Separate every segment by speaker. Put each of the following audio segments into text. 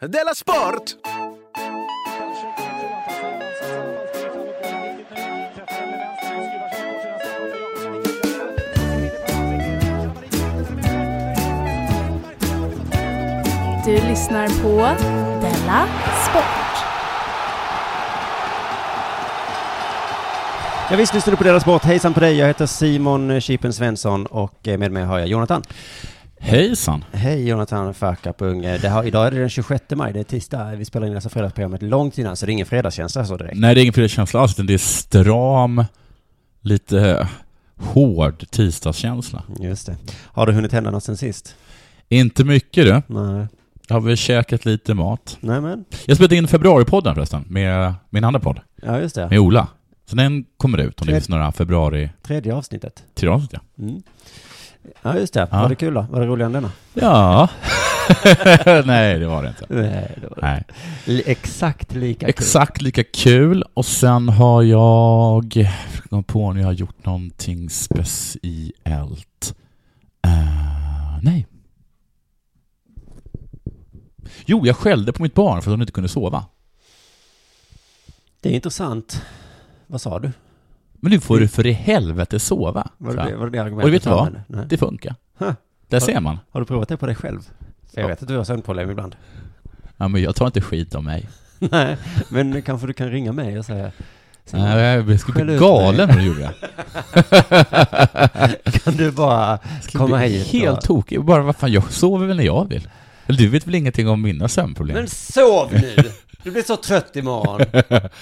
Speaker 1: Della Sport!
Speaker 2: Du lyssnar på Della Sport.
Speaker 3: Ja, visst lyssnar du på Della Sport. Hejsan på dig, jag heter Simon Chipen Svensson och eh, med mig har jag Jonathan.
Speaker 4: Hejsan!
Speaker 3: Hej Jonathan Farkapunge. Det har, idag är det den 26 maj, det är tisdag. Vi spelar in alltså fredagsprogrammet långt innan, så det är ingen fredagskänsla så direkt.
Speaker 4: Nej, det är ingen fredagskänsla alls, utan det är stram, lite eh, hård tisdagskänsla.
Speaker 3: Just det. Har du hunnit hända något sen sist?
Speaker 4: Inte mycket du.
Speaker 3: Nej.
Speaker 4: Jag har väl käkat lite mat.
Speaker 3: Nej men.
Speaker 4: Jag spelade in februaripodden förresten, med min andra podd,
Speaker 3: Ja, just det.
Speaker 4: med Ola. Så den kommer ut om det finns några februari
Speaker 3: Tredje avsnittet.
Speaker 4: till avsnitt, ja.
Speaker 3: Mm. Ja, just det. Var det kul då? Var det roligare än denna?
Speaker 4: Ja. Nej, det var det inte.
Speaker 3: Nej, det var
Speaker 4: Nej.
Speaker 3: Exakt lika
Speaker 4: Exakt lika kul. Och sen har jag... Försöker komma på om jag har gjort någonting speciellt. Eh, nej. Jo, jag skällde på mitt barn för att hon inte kunde sova.
Speaker 3: Det är intressant. Vad sa du?
Speaker 4: Men nu får du för i helvete sova.
Speaker 3: Var
Speaker 4: Så
Speaker 3: det,
Speaker 4: här.
Speaker 3: var det, det argumentet?
Speaker 4: Och vet du
Speaker 3: du
Speaker 4: vad?
Speaker 3: använde? Nej.
Speaker 4: Det funkar.
Speaker 3: Huh.
Speaker 4: Där ser man.
Speaker 3: Har du provat det på dig själv? För jag
Speaker 4: Ja.
Speaker 3: vet att du har sömnproblem ibland.
Speaker 4: Ja, men jag tar inte skit om mig.
Speaker 3: Nej, men kanske du kan ringa mig och säga
Speaker 4: Nej, jag skulle
Speaker 3: Skäll
Speaker 4: bli
Speaker 3: ut
Speaker 4: galen om du gjorde det.
Speaker 3: Kan du bara
Speaker 4: Jag skulle
Speaker 3: komma
Speaker 4: bli
Speaker 3: hit?
Speaker 4: Helt
Speaker 3: och...
Speaker 4: tokig. Bara, vad fan, jag sover väl när jag vill. Eller Du vet väl ingenting om mina sömnproblem?
Speaker 3: Men sov nu! Du blir så trött imorgon.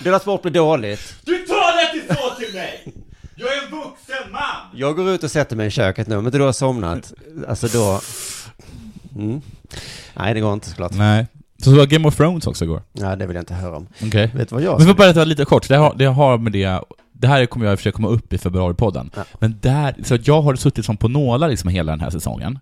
Speaker 3: Deras sport blir dåligt.
Speaker 5: Du talar inte så till mig! Jag är en vuxen man!
Speaker 3: Jag går ut och sätter mig i köket nu. Om inte du har somnat, alltså då... Mm. Nej, det går inte såklart.
Speaker 4: Nej. Så det var Game of Thrones också igår.
Speaker 3: Nej, det vill jag inte höra om.
Speaker 4: Okej.
Speaker 3: Vet du vad jag...
Speaker 4: Men får bara ta lite kort, det har, det har med det... Det här kommer jag i och för sig komma upp i februaripodden.
Speaker 3: Ja.
Speaker 4: Men där, så att jag har suttit som på nålar liksom hela den här säsongen.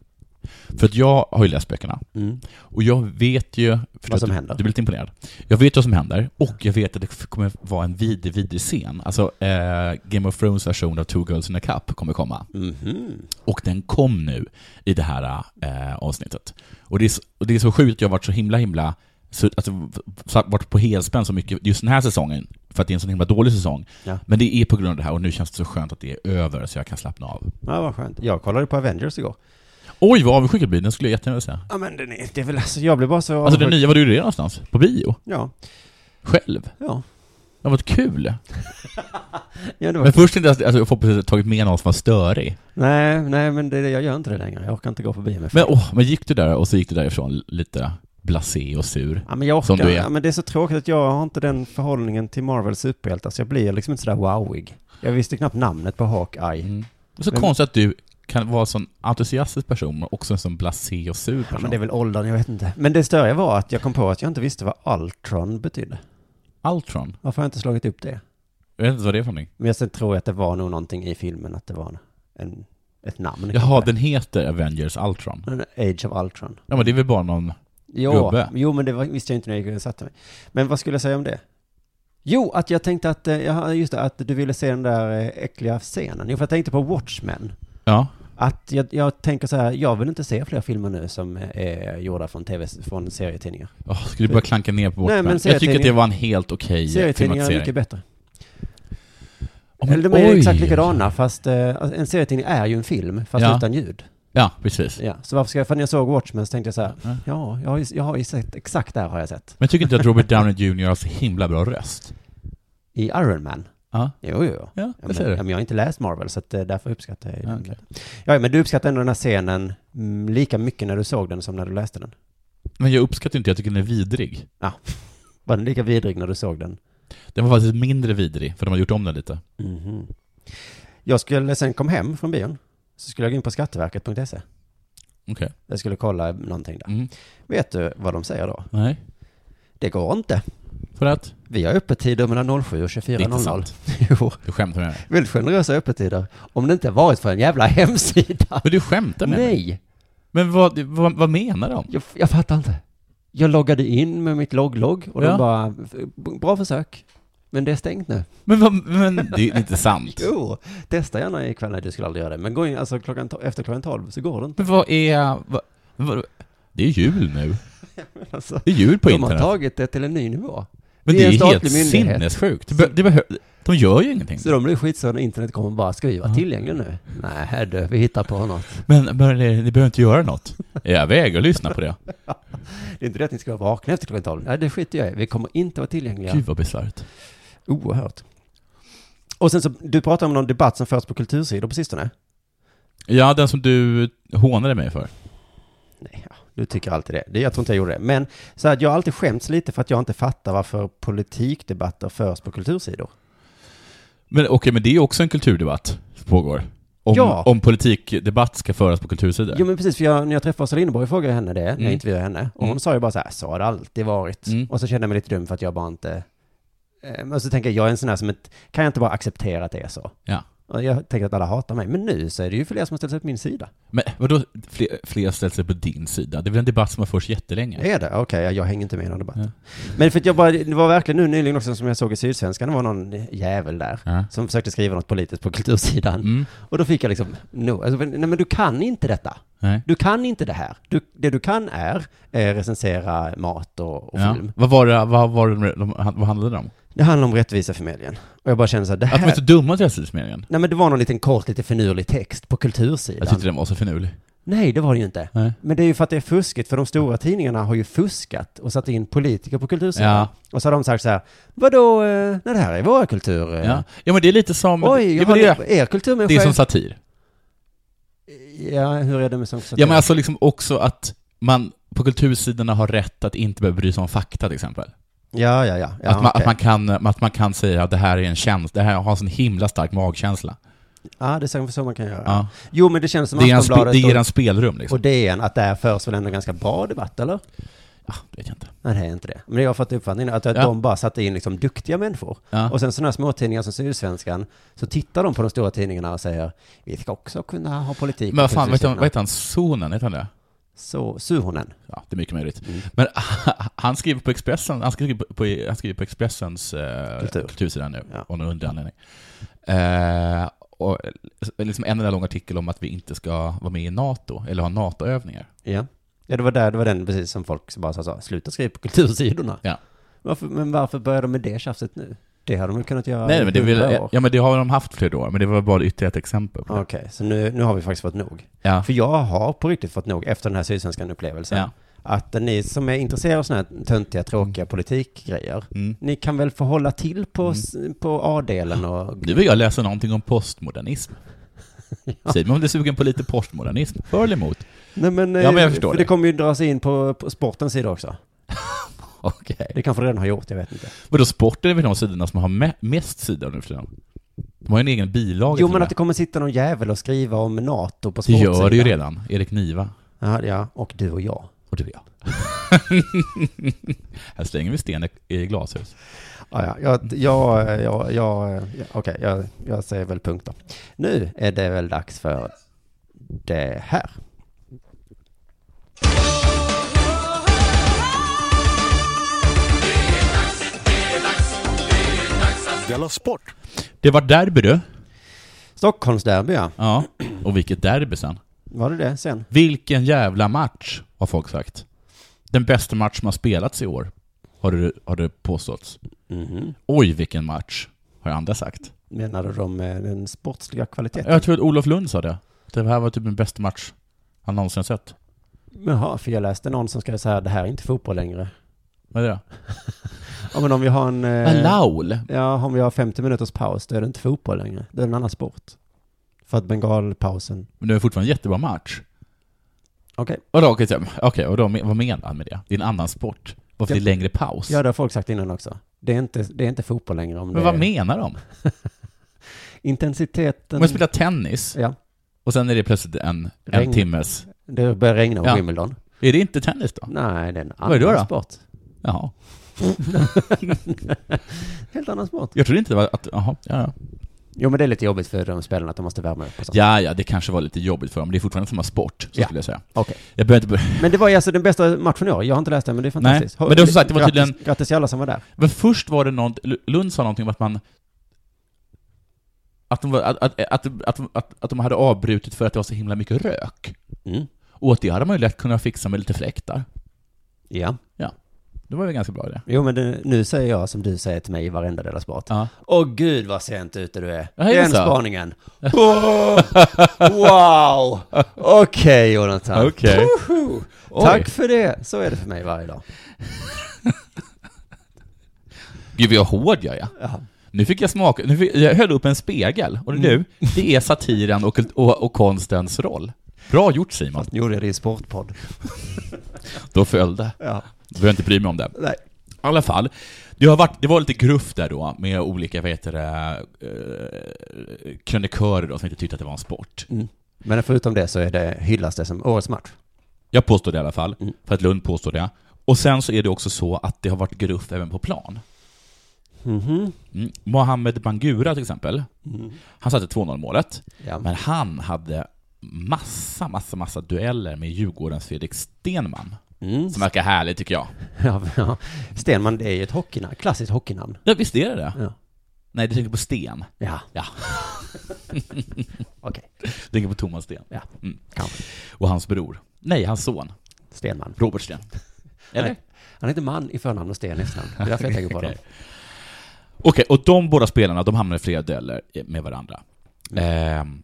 Speaker 4: För att jag har ju läst böckerna.
Speaker 3: Mm.
Speaker 4: Och jag vet ju... förstår
Speaker 3: som
Speaker 4: du,
Speaker 3: händer.
Speaker 4: Du blir lite imponerad. Jag vet vad som händer, och jag vet att det kommer vara en vidrig, vidrig scen. Alltså, eh, Game of Thrones version av Two Girls in a Cup kommer komma.
Speaker 3: Mhm.
Speaker 4: Och den kom nu i det här eh, avsnittet. Och det, är så, och det är så sjukt att jag har varit så himla, himla... Så, alltså, satt- varit på helspänn så mycket just den här säsongen, för att det är en så himla dålig säsong.
Speaker 3: Ja.
Speaker 4: Men det är på grund av det här, och nu känns det så skönt att det är över, så jag kan slappna av.
Speaker 3: Ja, vad skönt. Jag kollade på Avengers igår.
Speaker 4: Oj, vad avundsjuk jag blir. Den skulle jag jättegärna vilja se.
Speaker 3: Ja, men den är, det är väl alltså, jag blir bara så...
Speaker 4: Alltså den
Speaker 3: avundsjuk.
Speaker 4: nya, var du det någonstans? På bio?
Speaker 3: Ja,
Speaker 4: Själv?
Speaker 3: ja.
Speaker 4: Det har varit kul.
Speaker 3: ja det var...
Speaker 4: Men först inte ens, alltså, jag får precis tagit med någon som var störig.
Speaker 3: Nej, nej, men det, är det- jag gör inte det längre. Jag orkar inte gå förbi mig.
Speaker 4: Men åh, men gick du där och så gick du därifrån lite blasé och sur.
Speaker 3: Ja, men jag orkar.
Speaker 4: Som du är.
Speaker 3: Ja, men det är så tråkigt att jag har inte den förhållningen till Marvels superhjältar, så jag blir liksom inte sådär wowig. Jag visste knappt namnet på Hawkeye.
Speaker 4: Mm. Och så
Speaker 3: Men-
Speaker 4: konstigt att du kan vara en sån entusiastisk person, men också en sån blasé och sur
Speaker 3: Ja,
Speaker 4: person.
Speaker 3: men det är väl åldern, jag vet inte. Men det större var att jag kom på att jag inte visste vad Ultron betydde.
Speaker 4: Ultron.
Speaker 3: Varför har jag inte slagit upp det?
Speaker 4: Jag vet inte vad det är för någonting.
Speaker 3: Men jag sen tror jag att det var nog någonting i filmen, att det var en, ett namn.
Speaker 4: Jaha,
Speaker 3: kanske.
Speaker 4: den heter Avengers Ultron.
Speaker 3: Men Age of Ultron.
Speaker 4: Ja, men det är väl bara någon...
Speaker 3: Jo,
Speaker 4: Gubbe.
Speaker 3: jo men det var, visste jag inte när jag gick och satte mig. Men vad skulle jag säga om det? Jo, att jag tänkte att, eh, ja, just det, att du ville se den där eh, äckliga scenen. Jo, för jag tänkte på Watchmen.
Speaker 4: Ja.
Speaker 3: Att jag, jag tänker så här, jag vill inte se fler filmer nu som eh, är gjorda från tv, från serietidningar.
Speaker 4: Åh, ska du börja klanka ner på
Speaker 3: Nej,
Speaker 4: Watchmen?
Speaker 3: men
Speaker 4: jag tycker att det
Speaker 3: serietidningar-
Speaker 4: var en helt okej
Speaker 3: serietidningar är
Speaker 4: filmatisering.
Speaker 3: mycket bättre.
Speaker 4: Ja, men
Speaker 3: Eller de är ju
Speaker 4: oj.
Speaker 3: exakt likadana, fast eh, alltså, en serietidning är ju en film, fast
Speaker 4: Ja.
Speaker 3: utan ljud.
Speaker 4: Ja, precis.
Speaker 3: Ja, så varför ska jag, för när jag såg Watchmen så tänkte jag så här,
Speaker 4: Ja.
Speaker 3: ja, jag har ju, jag har ju sett, exakt där har jag sett.
Speaker 4: Men jag tycker inte att Robert Downey Jr. har så himla bra röst.
Speaker 3: I Iron Man.
Speaker 4: Ja,
Speaker 3: Jo, jo, jo.
Speaker 4: ja
Speaker 3: Ja,
Speaker 4: det
Speaker 3: men,
Speaker 4: ser
Speaker 3: ja,
Speaker 4: du.
Speaker 3: men jag har inte läst Marvel, så att, eh, därför uppskattar jag ju
Speaker 4: Ja,
Speaker 3: den.
Speaker 4: okej.
Speaker 3: Ja, men du uppskattar ändå den här scenen mm, lika mycket när du såg den som när du läste den.
Speaker 4: Men jag uppskattar inte, jag tycker den är vidrig.
Speaker 3: Var den lika vidrig när du såg den?
Speaker 4: Den var faktiskt mindre vidrig, för de har gjort om den lite.
Speaker 3: Mhm. Jag skulle, sen kom hem från bion, så skulle jag gå in på skatteverket.se.
Speaker 4: Okej.
Speaker 3: Jag skulle kolla någonting där.
Speaker 4: Mm.
Speaker 3: Vet du vad de säger då?
Speaker 4: Nej.
Speaker 3: Det går inte.
Speaker 4: För att?
Speaker 3: Vi har öppettider mellan 07 och
Speaker 4: Det är inte
Speaker 3: 24.00.
Speaker 4: sant.
Speaker 3: Jo,
Speaker 4: Du skämtar med mig.
Speaker 3: väldigt generösa öppettider. Om det inte varit för en jävla hemsida.
Speaker 4: Men du skämtar med mig?
Speaker 3: Nej,
Speaker 4: Men vad, vad, vad menar de?
Speaker 3: jag, jag fattar inte. Jag loggade in med mitt logglogg och
Speaker 4: Ja.
Speaker 3: de bara, bra försök. Men det är stängt nu.
Speaker 4: Men, vad, men det är inte sant.
Speaker 3: Jo, testa gärna ikväll. Nej, du skulle aldrig göra det. Men gå in, alltså klockan, to- efter klockan tolv så går det inte.
Speaker 4: Men vad är... Vad, vad, Det är jul nu.
Speaker 3: Alltså,
Speaker 4: Det är jul på
Speaker 3: de har
Speaker 4: internet.
Speaker 3: tagit det till en ny nivå.
Speaker 4: Men
Speaker 3: det
Speaker 4: det
Speaker 3: är
Speaker 4: är
Speaker 3: en
Speaker 4: ju helt
Speaker 3: statlig myndighet.
Speaker 4: sinnessjukt. Det be- det behö- de gör ju ingenting.
Speaker 3: Så de blir skitsura när internet kommer och bara, ska vi vara tillgängliga nu? Nej, här du, vi hittar på något.
Speaker 4: Men, men ni, ni behöver inte göra något. Jag vägrar att lyssna på det.
Speaker 3: Det är inte det att ni ska vara vakna efter klockan tolv. Nej, det skiter jag i. Vi kommer inte vara tillgängliga.
Speaker 4: Gud vad bisarrt.
Speaker 3: Oerhört. Och sen så, du pratar om någon debatt som förts på kultursidor på sistone.
Speaker 4: Ja, den som du hånade mig för.
Speaker 3: Nej, ja, du tycker alltid det. det. Jag tror inte jag gjorde det. Men så att jag har alltid skämts lite för att jag inte fattar varför politikdebatter förs på kultursidor.
Speaker 4: Men okej, men det är ju också en kulturdebatt som pågår. Om,
Speaker 3: Ja.
Speaker 4: om politikdebatt ska föras på kultursidor.
Speaker 3: Jo men precis, för jag, när jag träffade Åsa Linderborg frågade jag henne det, när jag
Speaker 4: Mm.
Speaker 3: intervjuade henne. Och hon
Speaker 4: Mm.
Speaker 3: sa ju bara så här, så har det alltid varit.
Speaker 4: Mm.
Speaker 3: Och så kände jag mig lite dum för att jag bara inte... Eh, Men så tänker jag, jag är en sån här som inte, kan jag inte bara acceptera att det är så?
Speaker 4: Ja.
Speaker 3: Och jag tänker att alla hatar mig. Men nu så är det ju fler som har ställt sig på min sida.
Speaker 4: Men vadå, fler, fler ställt sig på din sida? Det är väl en debatt som har förts jättelänge?
Speaker 3: Är det? Okej, jag, jag hänger inte med i den debatten.
Speaker 4: Ja.
Speaker 3: Men för att jag bara, det var verkligen nu nyligen också som jag såg i Sydsvenskan, det var någon jävel där
Speaker 4: Ja.
Speaker 3: som försökte skriva något politiskt på kultursidan.
Speaker 4: Mm.
Speaker 3: Och då fick jag liksom, no, alltså, nej men du kan inte detta.
Speaker 4: Nej.
Speaker 3: Du kan inte det här. Du, det du kan är eh, recensera mat och, och
Speaker 4: Ja.
Speaker 3: film.
Speaker 4: Vad var det, vad var det de, vad handlade det om?
Speaker 3: Det handlar om rättvisa för medien. Och jag bara kände så här, det
Speaker 4: Att de är
Speaker 3: här...
Speaker 4: så dumma till rasismmeningen?
Speaker 3: Nej men det var någon liten kort, lite finurlig text på kultursidan.
Speaker 4: Jag tyckte den var så finurlig.
Speaker 3: Nej, det var det ju inte.
Speaker 4: Nej.
Speaker 3: Men det är ju för att det är fuskigt, för de stora tidningarna har ju fuskat och satt in politiker på kultursidan.
Speaker 4: Ja.
Speaker 3: Och så har de sagt så här, vadå, eh, nej det här är våra kultur. eh.
Speaker 4: Ja. ja, men det är lite som...
Speaker 3: Oj, jag
Speaker 4: det, var
Speaker 3: har
Speaker 4: det,
Speaker 3: er kultur med
Speaker 4: det är
Speaker 3: själv.
Speaker 4: som satir.
Speaker 3: Ja, hur är det med sånt?
Speaker 4: Ja, men alltså liksom också att man på kultursidorna har rätt att inte behöva bry sig om fakta till exempel.
Speaker 3: ja, ja, ja. ja
Speaker 4: att, man,
Speaker 3: okej.
Speaker 4: att, man kan, att man kan säga att det här är en känsla, det här har en sån himla stark magkänsla.
Speaker 3: Ja, det är säkert så man kan göra.
Speaker 4: Ja.
Speaker 3: Jo, men det känns som
Speaker 4: Det, ger en spe,
Speaker 3: Aftonbladet
Speaker 4: det ger en
Speaker 3: och,
Speaker 4: spelrum
Speaker 3: och
Speaker 4: liksom.
Speaker 3: DN, att där förs väl ändå en ganska bra debatt, eller?
Speaker 4: Ja, det vet jag inte.
Speaker 3: Nej, det är inte det. Men jag har fått uppfattningen att, att
Speaker 4: Ja.
Speaker 3: de bara satte in liksom duktiga människor.
Speaker 4: Ja.
Speaker 3: Och sen sådana här småtidningar som Sydsvenskan, så tittar de på de stora tidningarna och säger, vi ska också kunna ha politik.
Speaker 4: Men
Speaker 3: på
Speaker 4: vad fan, vet han,
Speaker 3: kultursidorna."
Speaker 4: vad heter han? Sonen, heter han det?
Speaker 3: Så, Suhonen.
Speaker 4: Ja, det är mycket möjligt. Men han skriver på Expressen, han skriver på, på, han skriver på Expressens eh,
Speaker 3: Kultur.
Speaker 4: kultursida nu,
Speaker 3: Ja.
Speaker 4: av någon underlig anledning. Eh, och eh, liksom en enda lång artikel om att vi inte ska vara med i NATO, eller ha NATO-övningar.
Speaker 3: Ja. Ja, det var där, det var den precis som folk bara sa, så, sluta skriva på kultursidorna.
Speaker 4: Ja.
Speaker 3: Varför, men varför börjar de med det tjafset nu? Det hade de väl kunnat göra
Speaker 4: Nej, men det,
Speaker 3: i
Speaker 4: vill,
Speaker 3: hundra år.
Speaker 4: ja, men det har de haft flera år, men det var bara ytterligare ett exempel. På det.
Speaker 3: Okej, så nu, nu har vi faktiskt fått nog.
Speaker 4: Ja.
Speaker 3: För jag har på riktigt fått nog efter den här Sydsvenskan-upplevelsen.
Speaker 4: Ja.
Speaker 3: Att ni som är intresserade av sådana här töntiga, tråkiga politikgrejer,
Speaker 4: Mm.
Speaker 3: ni kan väl få hålla till på, s- på A-delen och...
Speaker 4: Nu vill jag läsa någonting om postmodernism. Simon, om du är sugen på lite postmodernism, för eller emot?
Speaker 3: Nej men,
Speaker 4: Ja, men jag
Speaker 3: eh,
Speaker 4: förstår
Speaker 3: för det
Speaker 4: det.
Speaker 3: kommer ju dras in på, på sportens sida också.
Speaker 4: Okej.
Speaker 3: Det kanske redan har gjort, jag vet inte.
Speaker 4: Vadå, sporten är väl de sidorna som har me- mest sidor nu för tiden? De har ju en egen bilaga
Speaker 3: Jo
Speaker 4: till
Speaker 3: men
Speaker 4: det.
Speaker 3: att det kommer sitta någon jävel och skriva om NATO på
Speaker 4: Det
Speaker 3: sportsidan.
Speaker 4: gör det ju redan. Erik Niva.
Speaker 3: Ja, ja, och du och jag.
Speaker 4: Och du och jag. Här slänger vi sten i glashus.
Speaker 3: Ja, ja, jag, jag, jag, jag eh, ja, okej, jag, jag säger väl punkt då. Nu är det väl dags för det här.
Speaker 1: Della Sport!
Speaker 4: Det var derby du.
Speaker 3: Stockholmsderby ja.
Speaker 4: Ja. Och vilket derby sen.
Speaker 3: Var det det sen?
Speaker 4: Vilken jävla match, har folk sagt. Den bästa match som har spelats i år, har det, har det påståtts.
Speaker 3: Mhm.
Speaker 4: Oj, vilken match, har andra sagt.
Speaker 3: Menade de med den sportsliga kvaliteten?
Speaker 4: Jag tror att Olof Lund sa det. Att Det här var typ den bästa match han någonsin sett.
Speaker 3: Jaha, för jag läste någon som skrev så här, det här är inte fotboll längre.
Speaker 4: Vad är det?
Speaker 3: Ja men om vi har en... eh,
Speaker 4: Eh. Laul.
Speaker 3: Ja, om vi har 50 minuters paus, då är det inte fotboll längre. Då är det en annan sport. För att bengalpausen...
Speaker 4: Men det var fortfarande en jättebra match.
Speaker 3: Okej.
Speaker 4: Vadå, okej, så- okej, och då, men- vad menar han med det? Det är en annan sport. Varför
Speaker 3: Ja.
Speaker 4: det är längre paus?
Speaker 3: Ja, det har folk sagt innan också. Det är inte, det är inte fotboll längre om
Speaker 4: Men
Speaker 3: det
Speaker 4: vad
Speaker 3: är-
Speaker 4: menar de?
Speaker 3: Intensiteten...
Speaker 4: Om jag spelar tennis,
Speaker 3: Ja,
Speaker 4: och sen är det plötsligt en,
Speaker 3: Regn.
Speaker 4: en timmes...
Speaker 3: det börjar regna på
Speaker 4: Ja.
Speaker 3: Wimbledon.
Speaker 4: Är det inte tennis då?
Speaker 3: Nej, det är en annan
Speaker 4: Vad är det då, då?
Speaker 3: sport.
Speaker 4: Jaha.
Speaker 3: Helt annan sport.
Speaker 4: Jag trodde inte det var att... Jaha, ja, ja.
Speaker 3: Jo, men det är lite jobbigt för de spelarna att de måste värma upp och sånt.
Speaker 4: Ja, ja, det kanske var lite jobbigt för dem. Det är fortfarande samma sport, så
Speaker 3: Ja.
Speaker 4: skulle jag säga.
Speaker 3: Okej.
Speaker 4: Jag behöver inte... bör-
Speaker 3: Men det var ju alltså den bästa matchen i år. Jag har inte läst den, men det är fantastiskt.
Speaker 4: Nej, men det var som sagt, det var
Speaker 3: Grattis-
Speaker 4: tydligen-
Speaker 3: Grattis till alla som var där.
Speaker 4: Men först var det någon... Lund sa någonting om att man... Att de, var, att, att, att, att, att, att de hade avbrutit för att det var så himla mycket rök.
Speaker 3: Mm.
Speaker 4: Och åt det hade man ju lätt kunnat fixa med lite fläktar.
Speaker 3: Ja.
Speaker 4: Det var väl ganska bra idé.
Speaker 3: Jo, men det, nu säger jag som du säger till mig i varenda Della Sport.
Speaker 4: Ja.
Speaker 3: Åh gud vad sent ute du är.
Speaker 4: Ja, är det
Speaker 3: Den
Speaker 4: så?
Speaker 3: spaningen. Åh, wow! Okej Jonathan.
Speaker 4: Okej.
Speaker 3: Woho!
Speaker 4: Oj.
Speaker 3: Tack för det. Så är det för mig varje dag.
Speaker 4: Gud vad hård jag är.
Speaker 3: Ja.
Speaker 4: Nu fick jag smaka, nu fick, jag höll upp en spegel. Och
Speaker 3: Mm.
Speaker 4: nu, det är satiren och, kult- och, och konstens roll. Bra gjort Simon.
Speaker 3: Nu gjorde jag det i sportpodd.
Speaker 4: Då följde.
Speaker 3: Ja.
Speaker 4: Behöver inte bry mig om det.
Speaker 3: Nej.
Speaker 4: I alla fall, det, har varit, det var lite gruff där då med olika, vad heter det, eh, krönikörer då som inte tyckte att det var en sport.
Speaker 3: Mm. Men förutom det så är det, hyllas det som årets match.
Speaker 4: Jag påstår det i alla fall,
Speaker 3: Mm.
Speaker 4: för att Lund påstår det. Och sen så är det också så att det har varit gruff även på plan.
Speaker 3: Mhm.
Speaker 4: Mm. Mohamed Bangura till exempel,
Speaker 3: Mm.
Speaker 4: han satte 2-0 målet,
Speaker 3: Ja.
Speaker 4: men han hade massa, massa, massa dueller med Djurgårdens Fredrik Stenman.
Speaker 3: Mm.
Speaker 4: Som verkar härlig tycker jag.
Speaker 3: Ja, ja. Stenman, det är ju ett hockeynamn. Klassiskt hockeynamn.
Speaker 4: Ja, visst är det det?
Speaker 3: Ja.
Speaker 4: Mm. Nej, du tänker på Sten.
Speaker 3: Ja.
Speaker 4: Ja.
Speaker 3: Okej.
Speaker 4: Du tänker på Thomas Sten.
Speaker 3: Ja.
Speaker 4: Mm.
Speaker 3: Kanske.
Speaker 4: Och hans bror. Nej, hans son.
Speaker 3: Stenman.
Speaker 4: Robert Sten. Eller?
Speaker 3: Nej. Han heter man i förnamn och Sten i efternamn. Det är därför jag tänker på dem.
Speaker 4: Okej. Okej, och de båda spelarna, de hamnade i flera dueller med varandra. Ehm,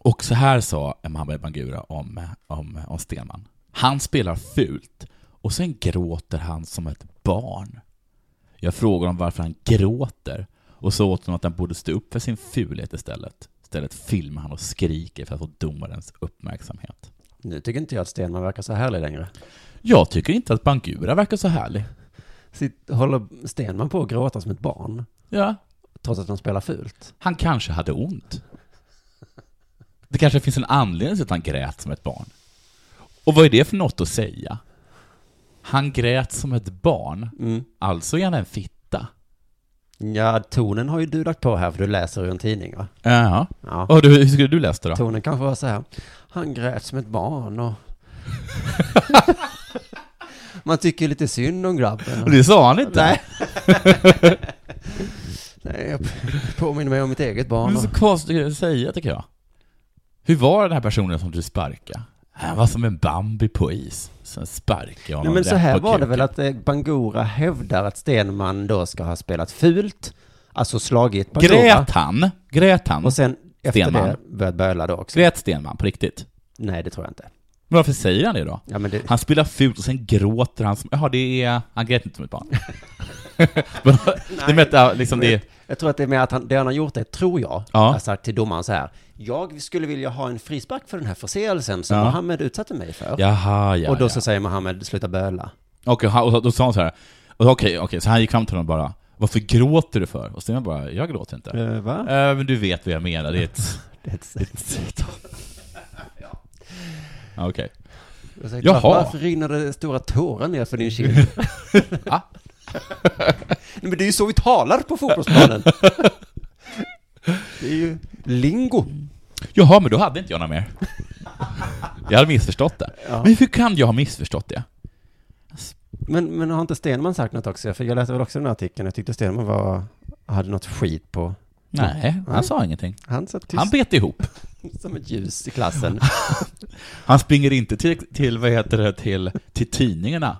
Speaker 4: och så här sa Mohamed Bangura om, om, om Stenman. Han spelar fult, och sen gråter han som ett barn. Jag frågar honom varför han gråter, och så åt honom att han borde stå upp för sin fulhet istället. Istället filmar han och skriker för att få domarens uppmärksamhet.
Speaker 3: Nu tycker inte jag att Stenman verkar så härlig längre.
Speaker 4: Jag tycker inte att Bangura verkar så härlig.
Speaker 3: Sitt, håller Stenman på att gråta som ett barn,
Speaker 4: Ja,
Speaker 3: trots att de spelar fult?
Speaker 4: Han kanske hade ont. Det kanske finns en anledning till att han grät som ett barn. Och vad är det för något att säga? Han grät som ett barn, alltså är han en fitta.
Speaker 3: Ja, tonen har ju du lagt på här, för du läser ur en tidning, va?
Speaker 4: Jaha.
Speaker 3: Ja.
Speaker 4: Och du, hur skulle du läsa det då?
Speaker 3: Tonen kanske var så här, han grät som ett barn och... Man tycker lite synd om grabben.
Speaker 4: Och det sa han inte.
Speaker 3: Nej. Nej, jag påminner mig om mitt eget
Speaker 4: Men
Speaker 3: barn.
Speaker 4: det är
Speaker 3: Och...
Speaker 4: så konstigt att säga tycker jag. Hur var den här personen som du sparkade? Han var som en Bambi på is. Sen sparkade jag honom
Speaker 3: Nej, men så
Speaker 4: rätt
Speaker 3: här
Speaker 4: på
Speaker 3: var det
Speaker 4: kuken.
Speaker 3: väl att eh, Bangura hävdar att Stenman då ska ha spelat fult, alltså slagit Bangura.
Speaker 4: Grät han? Grät han?
Speaker 3: Och sen efter
Speaker 4: Stenman.
Speaker 3: det började böla då också.
Speaker 4: Grät Stenman på riktigt?
Speaker 3: Nej, det tror jag inte.
Speaker 4: Men varför säger han det då?
Speaker 3: Ja, men det...
Speaker 4: Han spelar fult och sen gråter han som, jaha det är, han grät inte som ett barn. Men, det mätte, liksom det,
Speaker 3: Jag tror att det är med att han, det han har gjort det, tror jag,
Speaker 4: Ja.
Speaker 3: har sagt till domaren så här. Jag skulle vilja ha en frispark för den här förseelsen som
Speaker 4: Ja.
Speaker 3: Mohammed utsatte mig för.
Speaker 4: jaha ja.
Speaker 3: och då
Speaker 4: ja.
Speaker 3: så säger Mohammed, sluta böla.
Speaker 4: Och, han, och då- då sa han så här, och okej, okej, så han gick fram till honom bara, varför gråter du för? Och Sten bara, jag gråter inte.
Speaker 3: Uh, va?
Speaker 4: "Eh, men du vet vad jag menar, det är ett...
Speaker 3: Det är ett sätt.
Speaker 4: Ja, Okej.
Speaker 3: Jag säger,
Speaker 4: Jaha.
Speaker 3: Varför rinner det stora tårar ner för din kind?
Speaker 4: Va?
Speaker 3: Nej, men det är ju så vi talar på fotbollsplanen. det är ju lingo.
Speaker 4: Jaha, men då hade inte jag något mer. jag hade missförstått det. Men hur kan jag ha missförstått det?
Speaker 3: Men, men har inte Stenman sagt något också? För jag läste väl också den här artikeln. Jag tyckte Stenman var, hade något skit på.
Speaker 4: Nej, han sa ingenting.
Speaker 3: Han satt tyst
Speaker 4: Han bet ihop.
Speaker 3: som ett ljus i klassen.
Speaker 4: Han springer inte till, till, vad heter det, till, till tidningarna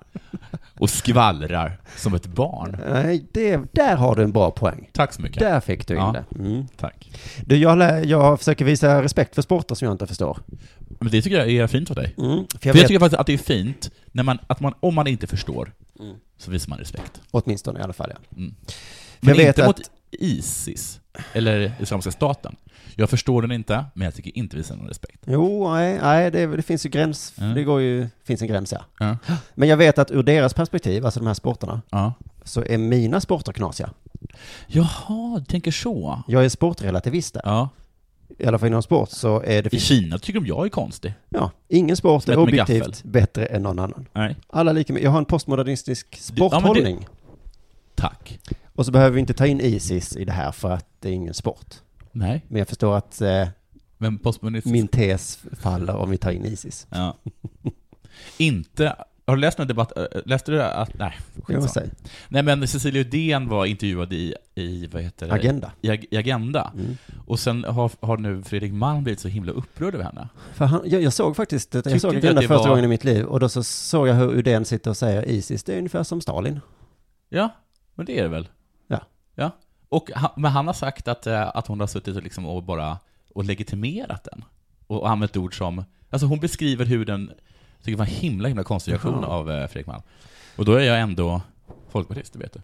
Speaker 4: och skvallrar som ett barn.
Speaker 3: Nej, det, där har du en bra poäng.
Speaker 4: Tack så mycket.
Speaker 3: Där fick du in
Speaker 4: Ja.
Speaker 3: det. Mm.
Speaker 4: Tack.
Speaker 3: Du, jag, lä- jag försöker visa respekt för sporter som jag inte förstår.
Speaker 4: Men det tycker jag är fint av dig.
Speaker 3: Mm. För jag
Speaker 4: För
Speaker 3: vet
Speaker 4: jag tycker faktiskt att det är fint, när man, att man, om man inte förstår, så visar man respekt.
Speaker 3: åtminstone i alla fall. Ja.
Speaker 4: Men
Speaker 3: Jag vet
Speaker 4: inte
Speaker 3: att-
Speaker 4: mot Isis, eller Islamiska staten. Jag förstår den inte, men jag tycker inte vi visar någon respekt.
Speaker 3: Jo, nej, nej det, är- det finns ju gräns.
Speaker 4: Mm.
Speaker 3: Det går ju, finns en gräns ja.
Speaker 4: Ja.
Speaker 3: Men jag vet att ur deras perspektiv, alltså de här sporterna,
Speaker 4: ja.
Speaker 3: så är mina sporter knasiga.
Speaker 4: Jaha, du tänker så.
Speaker 3: Jag är sportrelativist där.
Speaker 4: Ja.
Speaker 3: I alla fall inom sport så är det...
Speaker 4: I Kina tycker de jag är konstig.
Speaker 3: Ja, ingen sport
Speaker 4: Som
Speaker 3: är
Speaker 4: ett med
Speaker 3: objektivt
Speaker 4: gaffel.
Speaker 3: bättre än någon annan.
Speaker 4: Nej.
Speaker 3: Alla lika med. Jag har en postmodernistisk sporthållning.
Speaker 4: Tack.
Speaker 3: Och så behöver vi inte ta in Isis i det här för att det är ingen sport.
Speaker 4: Nej.
Speaker 3: Men jag förstår att eh,
Speaker 4: Men postmodernism...
Speaker 3: min tes faller om vi tar in Isis.
Speaker 4: Ja. Inte Har du läst någon debatt? eh, Läste du att... Nej,
Speaker 3: Jag
Speaker 4: skitsamma.
Speaker 3: måste säga.
Speaker 4: Nej men Cecilia Uddén var intervjuad i, i vad heter det?
Speaker 3: Agenda.
Speaker 4: I, Ag- i Agenda.
Speaker 3: Mm.
Speaker 4: Och sen har, har nu Fredrik Malm blivit så himla upprörd över henne.
Speaker 3: För han, jag, jag såg faktiskt,
Speaker 4: Tyckte
Speaker 3: jag såg
Speaker 4: inte
Speaker 3: Agenda
Speaker 4: att det
Speaker 3: första
Speaker 4: var-
Speaker 3: gången i mitt liv och då så såg jag hur Uddén sitter och säger Isis, det är ungefär som Stalin.
Speaker 4: Ja, men det är det väl?
Speaker 3: Ja.
Speaker 4: ja. Och han, men han har sagt att, eh, att hon har suttit och, liksom och bara och legitimerat den. Och, och använt ord som... Alltså hon beskriver hur den... Jag tycker det var en himla, himla konstig reaktion
Speaker 3: Jaha.
Speaker 4: av eh, Fredrik Malm. Och då är jag ändå folkpartist, det vet du.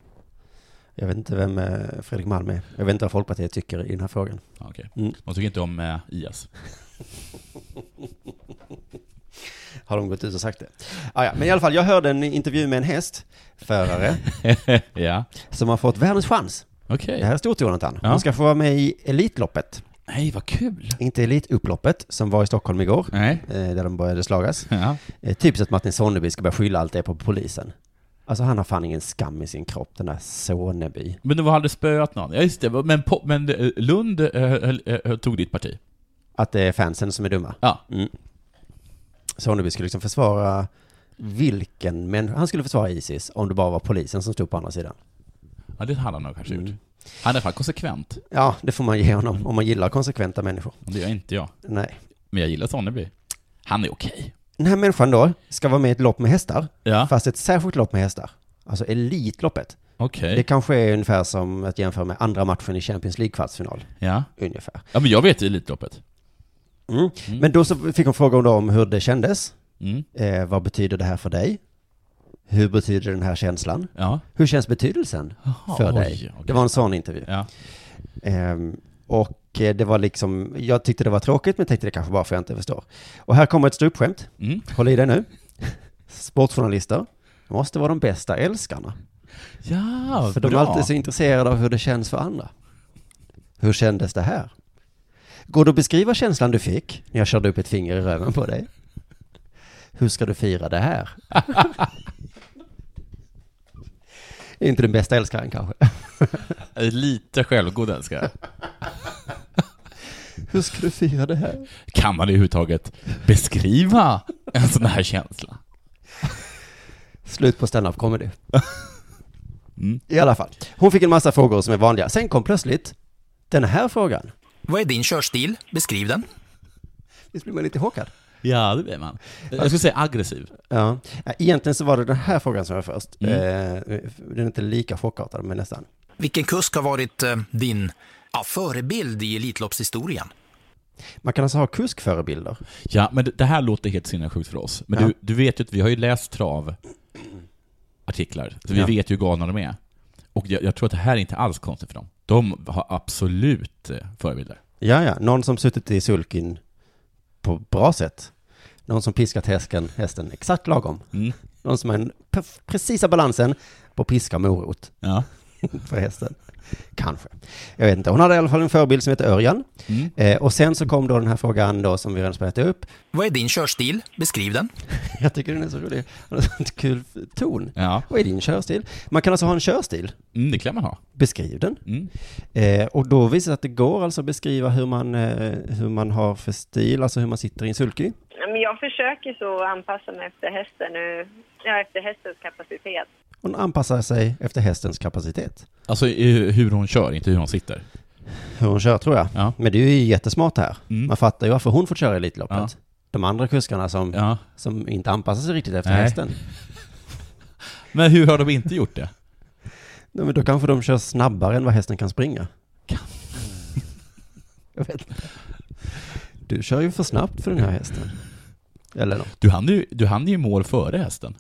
Speaker 3: Jag vet inte vem eh, Fredrik Malm är. Jag vet inte vad Folkpartiet tycker i den här frågan.
Speaker 4: Ja, okej.
Speaker 3: Mm.
Speaker 4: De tycker inte om eh, IS.
Speaker 3: Har de gått ut och sagt det? Ah, ja. Men i alla fall, jag hörde en intervju med en hästförare
Speaker 4: ja,
Speaker 3: som har fått världens chans.
Speaker 4: okej.
Speaker 3: Det här är stort Jonathan.
Speaker 4: Ja.
Speaker 3: Hon ska få vara med i Elitloppet.
Speaker 4: Nej, vad kul!
Speaker 3: Inte Elitupploppet som var i Stockholm igår,
Speaker 4: Nej.
Speaker 3: eh, där de började slagas.
Speaker 4: Ja.
Speaker 3: Eh, Typiskt att Martin Sonneby ska börja skylla allt det på polisen. Alltså han har fan ingen skam i sin kropp, den där Sonneby.
Speaker 4: Men de hade spöat någon. Ja, just det. Men, po- men eh, Lund eh, höll- eh, tog ditt parti.
Speaker 3: Att det är fansen som är dumma.
Speaker 4: Ja.
Speaker 3: Mm. Sonneby skulle liksom försvara vilken människa, han skulle försvara Isis om det bara var polisen som stod på andra sidan.
Speaker 4: ja, det hade han nog kanske gjort.
Speaker 3: Mm.
Speaker 4: Han är i alla fall konsekvent.
Speaker 3: Ja, det får man ge honom om man gillar konsekventa människor.
Speaker 4: Det gör inte jag.
Speaker 3: Nej.
Speaker 4: Men jag gillar Sonneby. Han är okej.
Speaker 3: Den här människan då ska vara med i ett lopp med hästar,
Speaker 4: Ja,
Speaker 3: fast ett särskilt lopp med hästar. Alltså Elitloppet.
Speaker 4: okej.
Speaker 3: Det kanske är ungefär som att jämföra med andra matchen i Champions League-kvartsfinal.
Speaker 4: Ja.
Speaker 3: Ungefär.
Speaker 4: ja, men jag vet ju Elitloppet.
Speaker 3: Mm. Men då så fick hon frågan då om hur det kändes.
Speaker 4: Mm.
Speaker 3: Eh, vad betyder det här för dig? Hur betyder den här känslan?
Speaker 4: Ja.
Speaker 3: Hur känns betydelsen
Speaker 4: Jaha,
Speaker 3: för
Speaker 4: oj,
Speaker 3: dig?
Speaker 4: okej.
Speaker 3: Det var en sån intervju.
Speaker 4: Ja.
Speaker 3: Ehm, och eh, det var liksom, jag tyckte det var tråkigt men tänkte det kanske bara för jag inte förstår. Och här kommer ett ståuppskämt.
Speaker 4: Mm.
Speaker 3: Håll i dig nu. Sportjournalister måste vara de bästa älskarna.
Speaker 4: Ja,
Speaker 3: för de är
Speaker 4: bra.
Speaker 3: alltid så intresserade av hur det känns för andra. Hur kändes det här? Går det att beskriva känslan du fick när jag körde upp ett finger i röven på dig? Hur ska du fira det här? Det är inte den bästa älskaren kanske.
Speaker 4: Lite självgod önskar jag.
Speaker 3: Hur ska du fira det här?
Speaker 4: Kan man överhuvudtaget beskriva en sån här känsla?
Speaker 3: Slut på stand-up comedy.
Speaker 4: Mm.
Speaker 3: I alla fall. Hon fick en massa frågor som är vanliga. Sen kom plötsligt den här frågan.
Speaker 1: Vad är din körstil? Beskriv den.
Speaker 3: Visst blir man lite chockad?
Speaker 4: Ja, det blir man. Jag skulle säga aggressiv.
Speaker 3: Ja. Egentligen så var det den här frågan som var först.
Speaker 4: Mm.
Speaker 3: Eh, Den är inte lika chockartad, men nästan.
Speaker 1: Vilken kusk har varit eh, din ja, förebild i Elitloppshistorien?
Speaker 3: Man kan alltså ha kuskförebilder.
Speaker 4: Ja, men det- det här låter helt sinnessjukt för oss. Men
Speaker 3: Ja.
Speaker 4: du, du vet ju att vi har ju läst travartiklar, så vi
Speaker 3: Ja.
Speaker 4: vet ju hur galna de är. Och jag, jag tror att det här är inte alls konstigt för dem. De har absolut eh, förebilder.
Speaker 3: Ja, ja. Någon som suttit i sulkin på bra sätt. Någon som piskat hästen, hästen exakt lagom.
Speaker 4: Mm.
Speaker 3: Någon som har den perf- precisa balansen på piska och morot
Speaker 4: Ja.
Speaker 3: för hästen. Kanske. Jag vet inte. Hon hade i alla fall en förebild som heter Örjan.
Speaker 4: Mm.
Speaker 3: Eh, och sen så kom då den här frågan då som vi redan spelat upp.
Speaker 1: Vad är din körstil? Beskriv den.
Speaker 3: Jag tycker den är så rolig. Han har sånt kul ton.
Speaker 4: Ja,
Speaker 3: Vad är din körstil? Man kan alltså ha en körstil.
Speaker 4: mm, det kan man ha.
Speaker 3: Beskriv den.
Speaker 4: Mm.
Speaker 3: Eh, och då visar det att det går alltså att beskriva hur man, eh, hur man har för stil, alltså hur man sitter i en sulky.
Speaker 6: Ja, Men jag försöker så anpassa mig efter hästen nu. Ja, efter hästens kapacitet.
Speaker 3: Hon anpassar sig efter hästens kapacitet.
Speaker 4: Alltså eh, hur hon kör, inte hur hon sitter.
Speaker 3: Hur hon kör tror jag.
Speaker 4: Ja.
Speaker 3: Men det är ju jättesmart här.
Speaker 4: Mm.
Speaker 3: Man fattar ju varför hon får köra Elitloppet.
Speaker 4: Ja.
Speaker 3: De andra kuskarna som,
Speaker 4: Ja.
Speaker 3: som inte anpassar sig riktigt efter
Speaker 4: Nej.
Speaker 3: hästen.
Speaker 4: Men hur har de inte gjort det?
Speaker 3: Nej, men då kanske de kör snabbare än vad hästen kan springa. Jag vet inte. Du kör ju för snabbt för den här hästen. Eller något.
Speaker 4: Du hann ju, du hann ju i mål före hästen.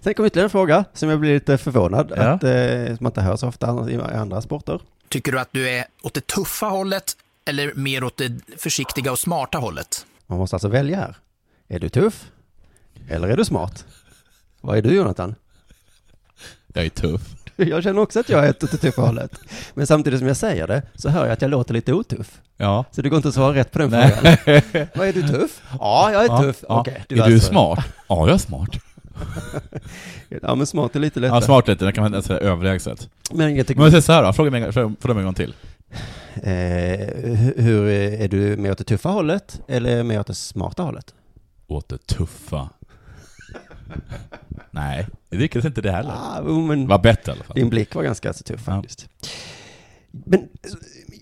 Speaker 3: Sen kom ytterligare en fråga som jag blir lite förvånad
Speaker 4: Ja.
Speaker 3: att eh, man inte hör så ofta i andra sporter.
Speaker 1: Tycker du att du är åt det tuffa hållet eller mer åt det försiktiga och smarta hållet?
Speaker 3: Man måste alltså välja här. Är du tuff? Eller är du smart? Vad är du Jonathan?
Speaker 4: Jag är tuff.
Speaker 3: Jag känner också att jag är åt det tuffa hållet. Men samtidigt som jag säger det så hör jag att jag låter lite otuff.
Speaker 4: Ja.
Speaker 3: Så det går inte att svara rätt på den frågan. Vad är du tuff? Ja, jag är tuff.
Speaker 4: Ja.
Speaker 3: Okej,
Speaker 4: är du
Speaker 3: alltså-
Speaker 4: smart? Ja, jag är smart.
Speaker 3: Ja, men smart är lite lättare.
Speaker 4: Ja, smart är inte. Det kan man inte säga
Speaker 3: Mm.
Speaker 4: överlägset.
Speaker 3: Men jag
Speaker 4: Men
Speaker 3: tycker,
Speaker 4: jag säger så här då, fråga mig, en gång- fråga fråga mig en gång till.
Speaker 3: eh, hur- hur är du mer åt det tuffa hållet eller mer åt det smarta hållet?
Speaker 4: åt det tuffa Nej, det lyckades inte det heller.
Speaker 3: Ah, jo, men
Speaker 4: Det var bättre i alla fall.
Speaker 3: din blick var ganska så tuff faktiskt. Men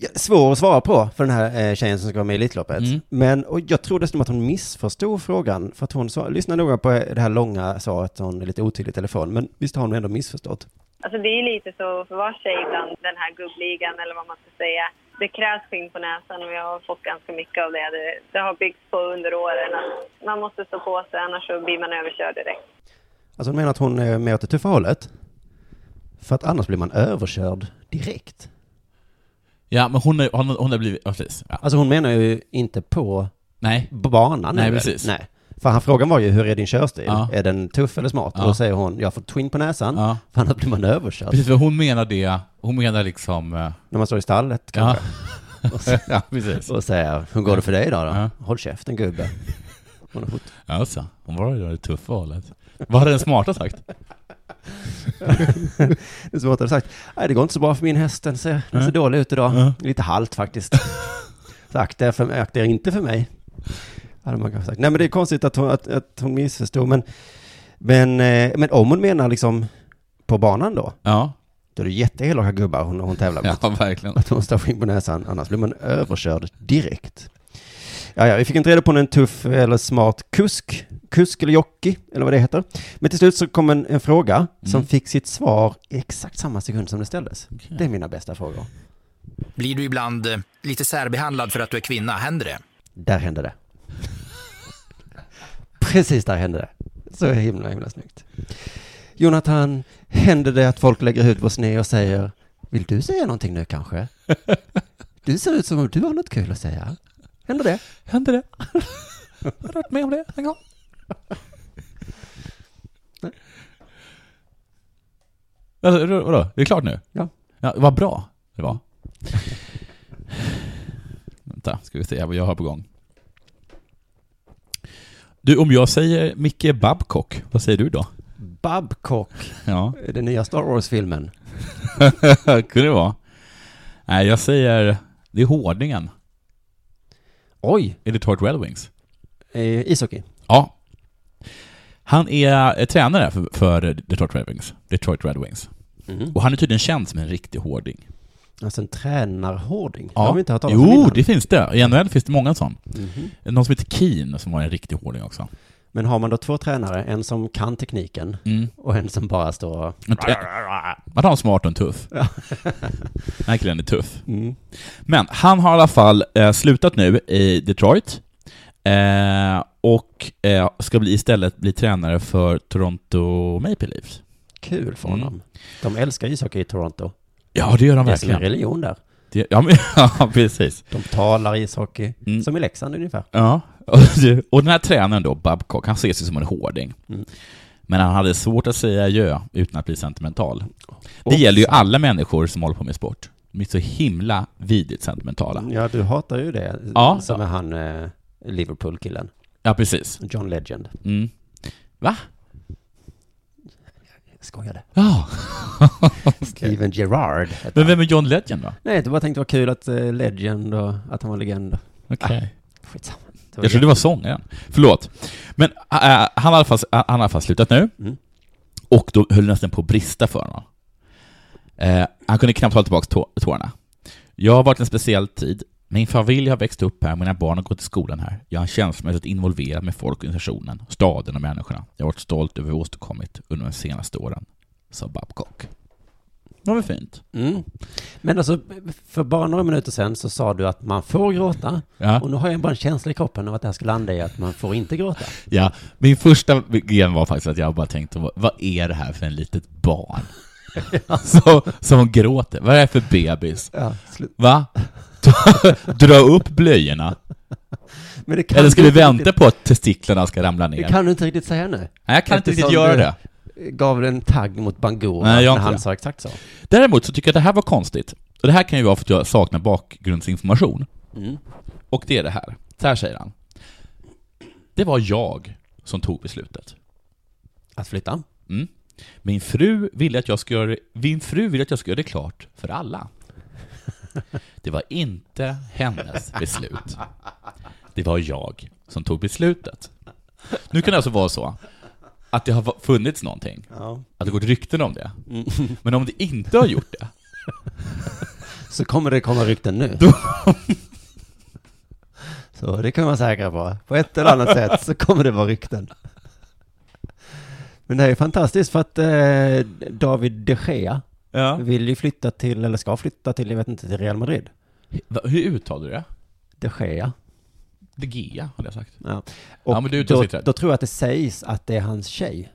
Speaker 3: eh, svår att svara på för den här eh, tjejen som ska vara med i Elitloppet.
Speaker 4: Mm.
Speaker 3: Men, och jag tror dessutom att hon missförstod frågan, för att hon sa, lyssna noga på det här långa svaret, hon är lite otydlig i telefon, men visst har hon ändå missförstått?
Speaker 6: Alltså det är ju lite så för var sig ibland, den här gubbligan eller vad man ska säga. Det krävs skinn på näsan och jag har fått ganska mycket av det. Det, det har byggts på under åren. att Man måste stå på sig annars så blir man överkörd direkt.
Speaker 3: Alltså hon menar att hon är med åt det tuffa hållet, för att annars blir man överkörd direkt.
Speaker 4: Ja, men hon har hon, hon har blivit... Ja, precis. Ja.
Speaker 3: Alltså hon menar ju inte på
Speaker 4: Nej.
Speaker 3: banan.
Speaker 4: Nej,
Speaker 3: eller?
Speaker 4: precis.
Speaker 3: Nej. För han, frågan var ju, hur är din körstil?
Speaker 4: Ja.
Speaker 3: Är den tuff eller smart? Och
Speaker 4: Ja.
Speaker 3: då säger hon, jag får twin på näsan,
Speaker 4: Ja.
Speaker 3: för annars blir man överkörd.
Speaker 4: Precis, för hon menar det... Hon menar liksom... eh,
Speaker 3: När man står i stallet
Speaker 4: Ja.
Speaker 3: kanske,
Speaker 4: ja, precis.
Speaker 3: och säger, hur går det för dig idag då?
Speaker 4: Ja.
Speaker 3: Håll käften gubbe. Hon har fått-
Speaker 4: Alltså, hon var ju det tuffa valet. Vad hade den smarta sagt?
Speaker 3: Det är svårt att ha sagt, nej det går inte så bra för min häst, den ser, den ser dålig ut idag.
Speaker 4: Ja.
Speaker 3: Lite halt faktiskt. Så akta er, för, akta er inte för mig. Hade man kanske sagt. Nej men det är konstigt att hon, att, att hon missförstod, men, men, eh, men om hon menar liksom på banan då,
Speaker 4: Ja,
Speaker 3: då är det jätteelaka gubbar hon, hon tävlar mot.
Speaker 4: ja verkligen.
Speaker 3: att hon står skinn på näsan, annars blir man överkörd direkt. Ja, ja, vi fick inte reda på om det är en tuff eller smart kusk, kusk eller jockey, eller vad det heter. Men till slut så kom en, en fråga som fick sitt svar i exakt samma sekund som det ställdes. Det är mina bästa frågor.
Speaker 1: Blir du ibland eh, lite särbehandlad för att du är kvinna? Händer det?
Speaker 3: Där hände det. Precis där hände det. Så himla, himla snyggt. Jonathan, händer det att folk lägger ut på sned och säger Vill du säga någonting nu kanske? Du ser ut som om du har något kul att säga. Händer det?
Speaker 4: Hände det? Har du varit med om det en gång? Alltså, vadå- vadå? Det är klart nu?
Speaker 3: Ja.
Speaker 4: ja vad bra det var. Vänta, ska vi se vad jag har på gång. Du, om jag säger Micke Babcock, vad säger du då?
Speaker 3: Babcock,
Speaker 4: Ja,
Speaker 3: den nya Star Wars-filmen.
Speaker 4: kunde det vara. Nej, jag säger, det är Hårdingen.
Speaker 3: Oj,
Speaker 4: Är det Tort Red Wings?
Speaker 3: eh, ishockey.
Speaker 4: Ja. Han är eh, tränare för, för Detroit Red Wings. Detroit Red Wings. Och han är tydligen känd som en riktig hårding.
Speaker 3: Alltså en tränarhårding. Det har vi inte hört talas om
Speaker 4: Jo,
Speaker 3: innan. Mhm.
Speaker 4: det finns det. I NHL finns det många sån. Någon som heter Keen som var en riktig hårding också.
Speaker 3: Men har man då två tränare, en som kan tekniken
Speaker 4: Mm.
Speaker 3: och en som bara står och...
Speaker 4: Men trä- Man har en smart och en tuff. Den här killen är tuff.
Speaker 3: Mm.
Speaker 4: Men han har i alla fall eh, slutat nu i Detroit. Eh, och eh, ska bli, istället bli tränare för Toronto Maple Leafs.
Speaker 3: Kul för
Speaker 4: Mm.
Speaker 3: honom. De älskar ishockey i Toronto.
Speaker 4: Ja, det gör han
Speaker 3: Det är som en
Speaker 4: verkligen.
Speaker 3: religion där.
Speaker 4: Det, ja, men, ja, precis.
Speaker 3: De talar ishockey,
Speaker 4: Mm.
Speaker 3: som i Leksand ungefär.
Speaker 4: Ja, och, och den här tränaren då, Babcock, han ses ju som en hårding.
Speaker 3: Mm.
Speaker 4: Men han hade svårt att säga adjö utan att bli sentimental. Det gäller ju alla människor som håller på med sport. De är så himla vidigt sentimentala.
Speaker 3: Ja, du hatar ju det.
Speaker 4: Ja.
Speaker 3: Som är han eh, Liverpool-killen.
Speaker 4: Ja, precis.
Speaker 3: John Legend.
Speaker 4: Mm. Va?
Speaker 3: Jag skojade.
Speaker 4: Ja.
Speaker 3: Steven Gerrard.
Speaker 4: Men vem är John Legend då?
Speaker 3: Nej, det bara tänkte det var kul att eh, Legend och att han var legend.
Speaker 4: Okej.
Speaker 3: Skitsamma.
Speaker 4: Jag trodde det var sångaren. Förlåt. Men äh, han har i alla fall- han har i alla fall slutat nu.
Speaker 3: Mm.
Speaker 4: Och då höll det nästan på att brista för honom. Eh, han kunde knappt hålla tillbaka tå- tårarna. Jag har varit en speciell tid. Min familj har växt upp här, mina barn har gått i skolan här. Jag har känslomässigt involverad med folk, organisationen, staden och människorna. Jag har varit stolt över vad vi åstadkommit under de senaste åren, sa Babcock. Det var väl fint?
Speaker 3: Mm. Men alltså, för bara några minuter sedan så sa du att man får gråta.
Speaker 4: Ja.
Speaker 3: Och nu har jag bara en känsla i kroppen av att det här ska landa i att man får inte gråta.
Speaker 4: ja. Min första gren var faktiskt att jag bara tänkte, vad- vad är det här för en litet barn? som, som gråter. Vad är det för bebis?
Speaker 3: Ja,
Speaker 4: Va? Dra upp blöjorna.
Speaker 3: Men det kan
Speaker 4: Eller ska
Speaker 3: du
Speaker 4: vi
Speaker 3: inte
Speaker 4: vänta
Speaker 3: riktigt-
Speaker 4: på att testiklarna ska ramla ner?
Speaker 3: Det kan du inte riktigt säga nu.
Speaker 4: Nej, jag kan inte
Speaker 3: Eftersom
Speaker 4: riktigt göra
Speaker 3: du-
Speaker 4: det.
Speaker 3: Gav den en tagg mot Bangor
Speaker 4: Nej, jag
Speaker 3: när
Speaker 4: inte
Speaker 3: han
Speaker 4: det.
Speaker 3: sa exakt så.
Speaker 4: Däremot så tycker jag att det här var konstigt. Och det här kan ju vara för att jag saknar bakgrundsinformation.
Speaker 3: Mm.
Speaker 4: Och det är det här. Så här säger han. Det var jag som tog beslutet.
Speaker 3: Att flytta.
Speaker 4: Mm. Min fru ville att jag skulle göra, min fru ville att jag skulle göra det klart för alla. Det var inte hennes beslut. Det var jag som tog beslutet. Nu kan det alltså vara så att det har funnits någonting.
Speaker 3: Ja.
Speaker 4: Att det går rykten om det. Men om det inte har gjort det,
Speaker 3: Så kommer det komma rykten nu. så det kan man vara säkra på. På ett eller annat sätt så kommer det vara rykten. Men det här är fantastiskt för att eh, David de Gea
Speaker 4: ja.
Speaker 3: vill ju flytta till, eller ska flytta till, jag vet inte, till Real Madrid.
Speaker 4: Va- hur uttalar du det?
Speaker 3: De Gea.
Speaker 4: De Gea, hade jag sagt.
Speaker 3: Ja. Och
Speaker 4: Ja, men du är ute och
Speaker 3: då,
Speaker 4: cyklar.
Speaker 3: då tror jag att det sägs att det är hans tjej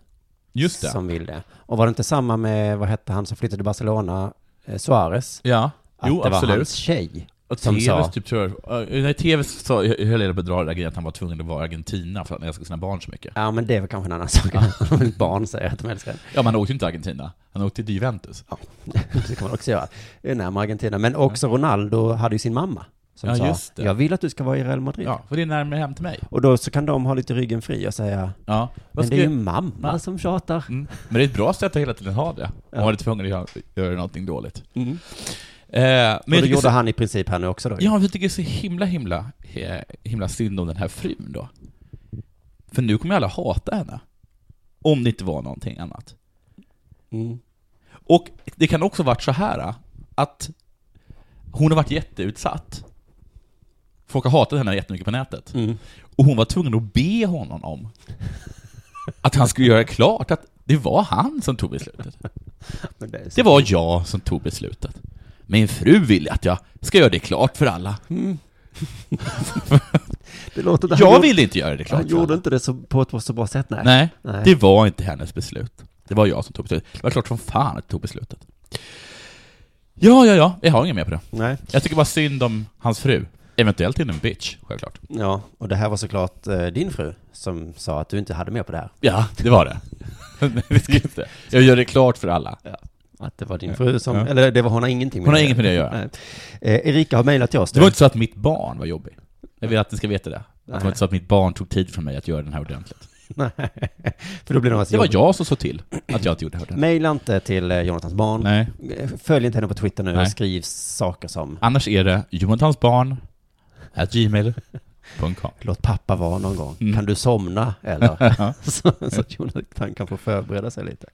Speaker 4: Just det.
Speaker 3: som vill det. Och var det inte samma med, vad hette han som flyttade till Barcelona, eh, Suarez?
Speaker 4: Ja.
Speaker 3: Att
Speaker 4: jo,
Speaker 3: det var
Speaker 4: absolut.
Speaker 3: hans tjej.
Speaker 4: Och
Speaker 3: som
Speaker 4: TVs
Speaker 3: sa-
Speaker 4: typ tror jag, eh, nej, TVs sa, jag höll reda på att dra den där grejen att han var tvungen att vara i Argentina för att han älskade sina barn så mycket.
Speaker 3: Ja, men det var kanske en annan sak. Om ett barn säger att de älskar en.
Speaker 4: Ja, men han åkte ju inte till Argentina. Han åkte till Juventus.
Speaker 3: Det kan man också göra. Det är närmare Argentina. Men också Ronaldo hade ju sin mamma. Som
Speaker 4: Ja,
Speaker 3: sa,
Speaker 4: just det.
Speaker 3: jag vill att du ska vara i Real Madrid.
Speaker 4: Ja, för det är närmare hem till mig.
Speaker 3: Och då så kan de ha lite ryggen fri och säga,
Speaker 4: Ja.
Speaker 3: men
Speaker 4: Vad
Speaker 3: det
Speaker 4: ska
Speaker 3: är ju
Speaker 4: jag...
Speaker 3: mamma
Speaker 4: Ma-
Speaker 3: som tjatar.
Speaker 4: mm. Men det är ett bra sätt att hela tiden ha det. Om man är tvungen att göra, göra någonting dåligt. Eh, men
Speaker 3: Men och
Speaker 4: jag
Speaker 3: Mm. det
Speaker 4: tycker
Speaker 3: gjorde
Speaker 4: så,
Speaker 3: han i princip här nu också då. ju.
Speaker 4: ja, men jag tycker så himla, himla, eh, himla synd om den här frun då. För nu kommer ju alla hata henne. Om det inte var någonting annat.
Speaker 3: Mm.
Speaker 4: Och det kan också varit så här eh, att hon har varit jätteutsatt. Folk har hatat henne jättemycket på nätet.
Speaker 3: Mm.
Speaker 4: Och hon var tvungen att be honom om att han skulle göra klart att det var han som tog beslutet.
Speaker 3: Men det är så-
Speaker 4: Det var jag som tog beslutet. Min fru vill att jag ska göra det klart för alla.
Speaker 3: det låter, han
Speaker 4: Jag
Speaker 3: gjorde-
Speaker 4: ville inte göra det klart
Speaker 3: Han
Speaker 4: för
Speaker 3: gjorde
Speaker 4: alla.
Speaker 3: inte det så, på ett så bra sätt, nej.
Speaker 4: Nej,
Speaker 3: Nej.
Speaker 4: det var inte hennes beslut. Det var jag som tog beslutet. Det var klart som fan att jag tog beslutet. Ja, ja, ja. Jag har inget mer på det.
Speaker 3: Nej.
Speaker 4: Jag tycker bara synd om hans fru. Eventuellt till en bitch, självklart.
Speaker 3: Ja, och det här var såklart eh, din fru som sa att du inte hade med på det här.
Speaker 4: Ja, det var det. Men det ska jag inte. jag gör det klart för alla.
Speaker 3: Att det var din fru som,
Speaker 4: Ja.
Speaker 3: eller det var hon har ingenting med
Speaker 4: Hon har
Speaker 3: det
Speaker 4: inget med det att göra.
Speaker 3: Nej. Eh, Erika har mejlat till oss.
Speaker 4: Det var inte så att mitt barn var jobbig. Jag vill att ni ska veta det. Att det
Speaker 3: Nej.
Speaker 4: var inte så att mitt barn tog tid från mig att göra den här ordentligt.
Speaker 3: Nej. För då blir det något
Speaker 4: Det var jag som såg till att jag inte gjorde det här ordentligt.
Speaker 3: Mejla inte till eh, Jonathans barn.
Speaker 4: Nej.
Speaker 3: Eh, Följ inte henne på Twitter nu
Speaker 4: Nej.
Speaker 3: och skriv saker som
Speaker 4: Annars är det jonattansbarn at gmail.com.
Speaker 3: Låt pappa vara någon gång.
Speaker 4: Mm.
Speaker 3: Kan du somna? Eller?
Speaker 4: Ja.
Speaker 3: så, så att Jonathan kan få förbereda sig lite.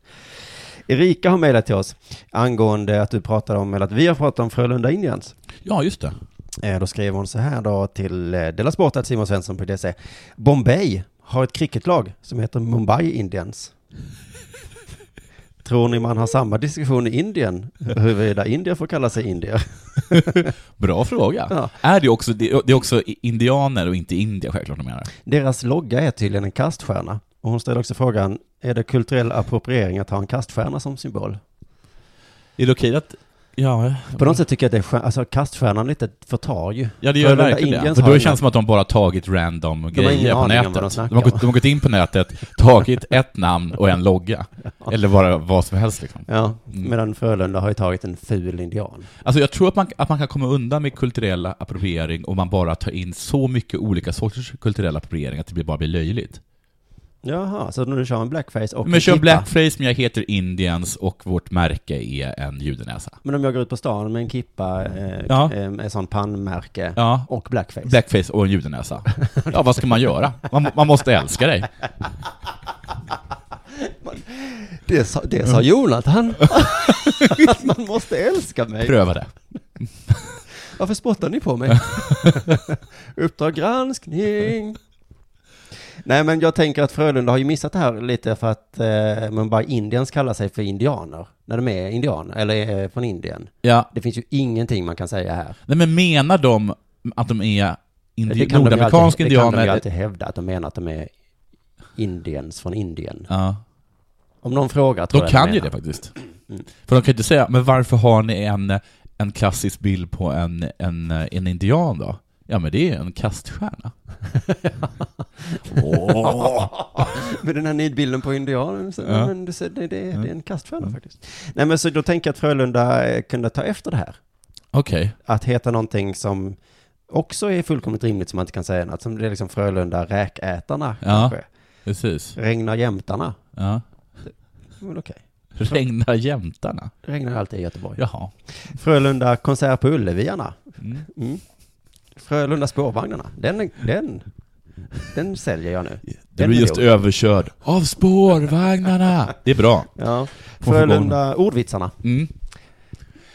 Speaker 3: Erika har mejlat till oss angående att du pratade om, eller att vi har pratat om Frölunda Indians.
Speaker 4: ja, just det.
Speaker 3: Eh, Då skrev hon så här då till eh, delasport.simonsvensson.se Bombay har ett cricketlag som heter Mumbai Indians. Tror ni man har samma diskussion i Indien? Huruvida indier får kalla sig indier?
Speaker 4: Bra fråga.
Speaker 3: Ja.
Speaker 4: Är det, också, det det är också indianer och inte indier självklart de menar.
Speaker 3: Deras logga är tydligen en kaststjärna. Och hon ställer också frågan, är det kulturell appropriering att ha en kaststjärna som symbol?
Speaker 4: Är det okej att... Ja,
Speaker 3: På något sätt tycker jag att det är skön, alltså kaststjärnan är lite ett förtar ju.
Speaker 4: Ja det gör
Speaker 3: Frölunda
Speaker 4: verkligen det.
Speaker 3: Indians
Speaker 4: För
Speaker 3: har
Speaker 4: då
Speaker 3: en-
Speaker 4: känns det som att de bara tagit random
Speaker 3: ingen
Speaker 4: grejer på
Speaker 3: aning om vad
Speaker 4: nätet.
Speaker 3: de
Speaker 4: De,
Speaker 3: snackar
Speaker 4: har gått,
Speaker 3: om.
Speaker 4: de har gått in på nätet, tagit ett namn och en logga. Eller bara vad som helst liksom.
Speaker 3: Ja, medan Frölunda har ju tagit en ful indian.
Speaker 4: Alltså jag tror att man, att man kan komma undan med kulturell appropriering om man bara tar in så mycket olika sorters kulturell appropriering att det blir- bara blir löjligt.
Speaker 3: Jaha, så nu kör man blackface och
Speaker 4: Men kör
Speaker 3: klippa.
Speaker 4: blackface men jag heter Indians och vårt märke är en judenäsa.
Speaker 3: Men om jag går ut på stan med en kippa, eh,
Speaker 4: Ja.
Speaker 3: eh, med sån pannmärke
Speaker 4: Ja.
Speaker 3: och blackface.
Speaker 4: Blackface och en judenäsa. Ja, vad ska man göra? Man, man måste älska dig.
Speaker 3: det, sa, det
Speaker 4: Mm.
Speaker 3: sa Jonathan. att man måste älska mig.
Speaker 4: Pröva det.
Speaker 3: Varför spottar ni på mig? Uppdrag granskning. Nej men jag tänker att Frölunda har ju missat det här lite för att eh, Mumbai Indians kallar sig för indianer. När de är indianer, eller eh, från Indien.
Speaker 4: Ja,
Speaker 3: Det finns ju ingenting man kan säga här.
Speaker 4: Nej men menar de att de är
Speaker 3: Det
Speaker 4: indi-
Speaker 3: kan, de ju alltid,
Speaker 4: nordamerikanska
Speaker 3: det kan de
Speaker 4: indianer?
Speaker 3: ju alltid hävda, att de menar att de är indiens från Indien.
Speaker 4: ja,
Speaker 3: Om någon frågar tror
Speaker 4: de
Speaker 3: jag
Speaker 4: kan ju
Speaker 3: menar. Mm.
Speaker 4: det faktiskt. För de kan ju inte säga, men varför har ni en, en klassisk bild på en, en, en indian då? Ja men det är en kaststjärna.
Speaker 3: Med den här nidbilden på indianen, så,
Speaker 4: Ja.
Speaker 3: men du ser, det, det, det är en kaststjärna faktiskt. Nej men så då tänker jag att Frölunda eh, kunde ta efter det här.
Speaker 4: Okej.
Speaker 3: Att heta någonting som också är fullkomligt rimligt som man inte kan säga något. Som det är liksom Frölunda räkätarna
Speaker 4: Ja.
Speaker 3: kanske.
Speaker 4: Precis.
Speaker 3: Regnar jämtarna.
Speaker 4: Ja.
Speaker 3: Men okej.
Speaker 4: Regnar jämtarna?
Speaker 3: Regnar alltid i Göteborg.
Speaker 4: Jaha.
Speaker 3: Frölunda konsert på Ulleviarna. Mm. Frölunda spårvagnarna. Den, den, den säljer jag nu.
Speaker 4: Du
Speaker 3: Den
Speaker 4: blir
Speaker 3: är
Speaker 4: just
Speaker 3: god.
Speaker 4: överkörd Av spårvagnarna! Det är bra.
Speaker 3: Ja.
Speaker 4: På förgångna.
Speaker 3: Frölunda, ordvitsarna.
Speaker 4: Mm.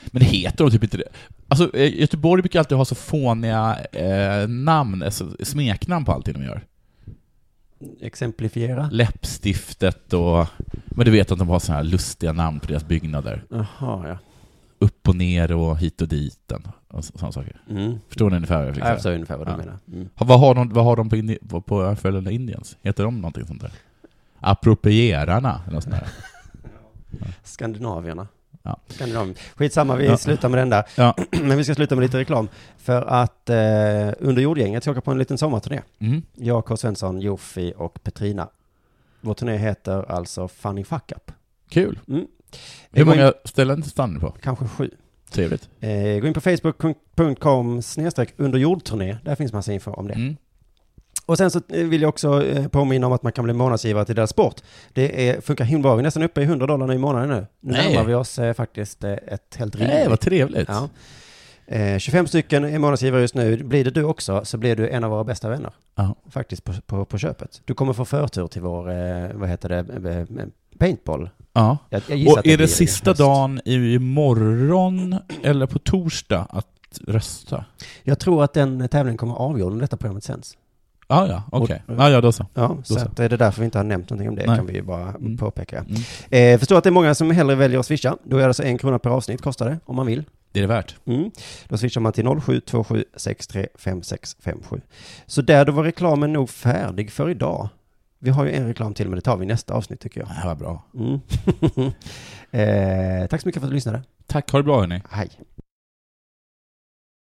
Speaker 4: Men det heter de typ inte det. Alltså, eh, Göteborg brukar alltid ha så fåniga eh, namn, alltså, smeknamn på allting de gör.
Speaker 3: Exemplifiera.
Speaker 4: Läppstiftet och... Men du vet att de har sådana här lustiga namn på deras byggnader.
Speaker 3: Jaha, ja.
Speaker 4: Upp och ner och hit och diten och sådana saker.
Speaker 3: Mm.
Speaker 4: Förstår ni ungefär vad jag fick
Speaker 3: Jag
Speaker 4: säga?
Speaker 3: förstår ungefär vad du
Speaker 4: Ja.
Speaker 3: menar. Mm.
Speaker 4: Ha- Vad har de, vad har de på, Indi- på Frölunda Indians? Heter de någonting sånt där? Approprierarna, eller något sånt där.
Speaker 3: Skandinavierna.
Speaker 4: Ja.
Speaker 3: Skandinavien. Skitsamma, vi
Speaker 4: Ja.
Speaker 3: slutar med den där.
Speaker 4: Ja.
Speaker 3: Men vi ska sluta med lite reklam. För att eh, under jordgänget ska åka på en liten sommarturné.
Speaker 4: Mm.
Speaker 3: Jag, K. Svensson, Jofi och Petrina. Vår turné heter alltså Funny Fuck Up.
Speaker 4: Kul.
Speaker 3: Mm.
Speaker 4: Hur
Speaker 3: Gå in-
Speaker 4: många ställen stannar ni på?
Speaker 3: Kanske sju.
Speaker 4: Trevligt.
Speaker 3: Eh, gå in på facebook.com snedstreck under jordturné. Där finns massa info om det.
Speaker 4: Mm.
Speaker 3: Och sen så eh, vill jag också eh, påminna om att man kan bli månadsgivare till deras sport. Det är, funkar himla bra. Vi är nästan uppe i 100 dollar i månaden nu. Nu
Speaker 4: Nej.
Speaker 3: närmar vi oss eh, faktiskt eh, ett helt rimligt.
Speaker 4: Nej, vad trevligt.
Speaker 3: ja. eh, 25 stycken är månadsgivare just nu. Blir det du också så blir du en av våra bästa vänner.
Speaker 4: Ja.
Speaker 3: Faktiskt på, på, på köpet. Du kommer få förtur till vår, eh, vad heter det, eh, eh, paintball.
Speaker 4: ja.
Speaker 3: Jag, jag gissar
Speaker 4: Och
Speaker 3: att
Speaker 4: är det
Speaker 3: blir
Speaker 4: sista
Speaker 3: höst.
Speaker 4: dagen i morgon eller på torsdag att rösta?
Speaker 3: Jag tror att den tävlingen kommer avgöra när detta programmet sänds.
Speaker 4: Ah, ja, okej. Ah, ja, då så.
Speaker 3: Ja, så
Speaker 4: så.
Speaker 3: att det är därför vi inte har nämnt någonting om det,
Speaker 4: Nej.
Speaker 3: kan vi ju bara
Speaker 4: Mm.
Speaker 3: påpeka.
Speaker 4: Mm.
Speaker 3: Eh, förstår att det är många som hellre väljer att swisha. Då är det alltså en krona per avsnitt kostar det, om man vill.
Speaker 4: Det är det värt.
Speaker 3: Mm. Då swishar man till 0727635657. Så där då var reklamen nog färdig för idag. Vi har ju en reklam till, men det tar vi i nästa avsnitt tycker jag.
Speaker 4: Det här var bra.
Speaker 3: Mm. eh, tack så mycket för att du lyssnade.
Speaker 4: Tack, ha det bra hörni.
Speaker 3: Hej.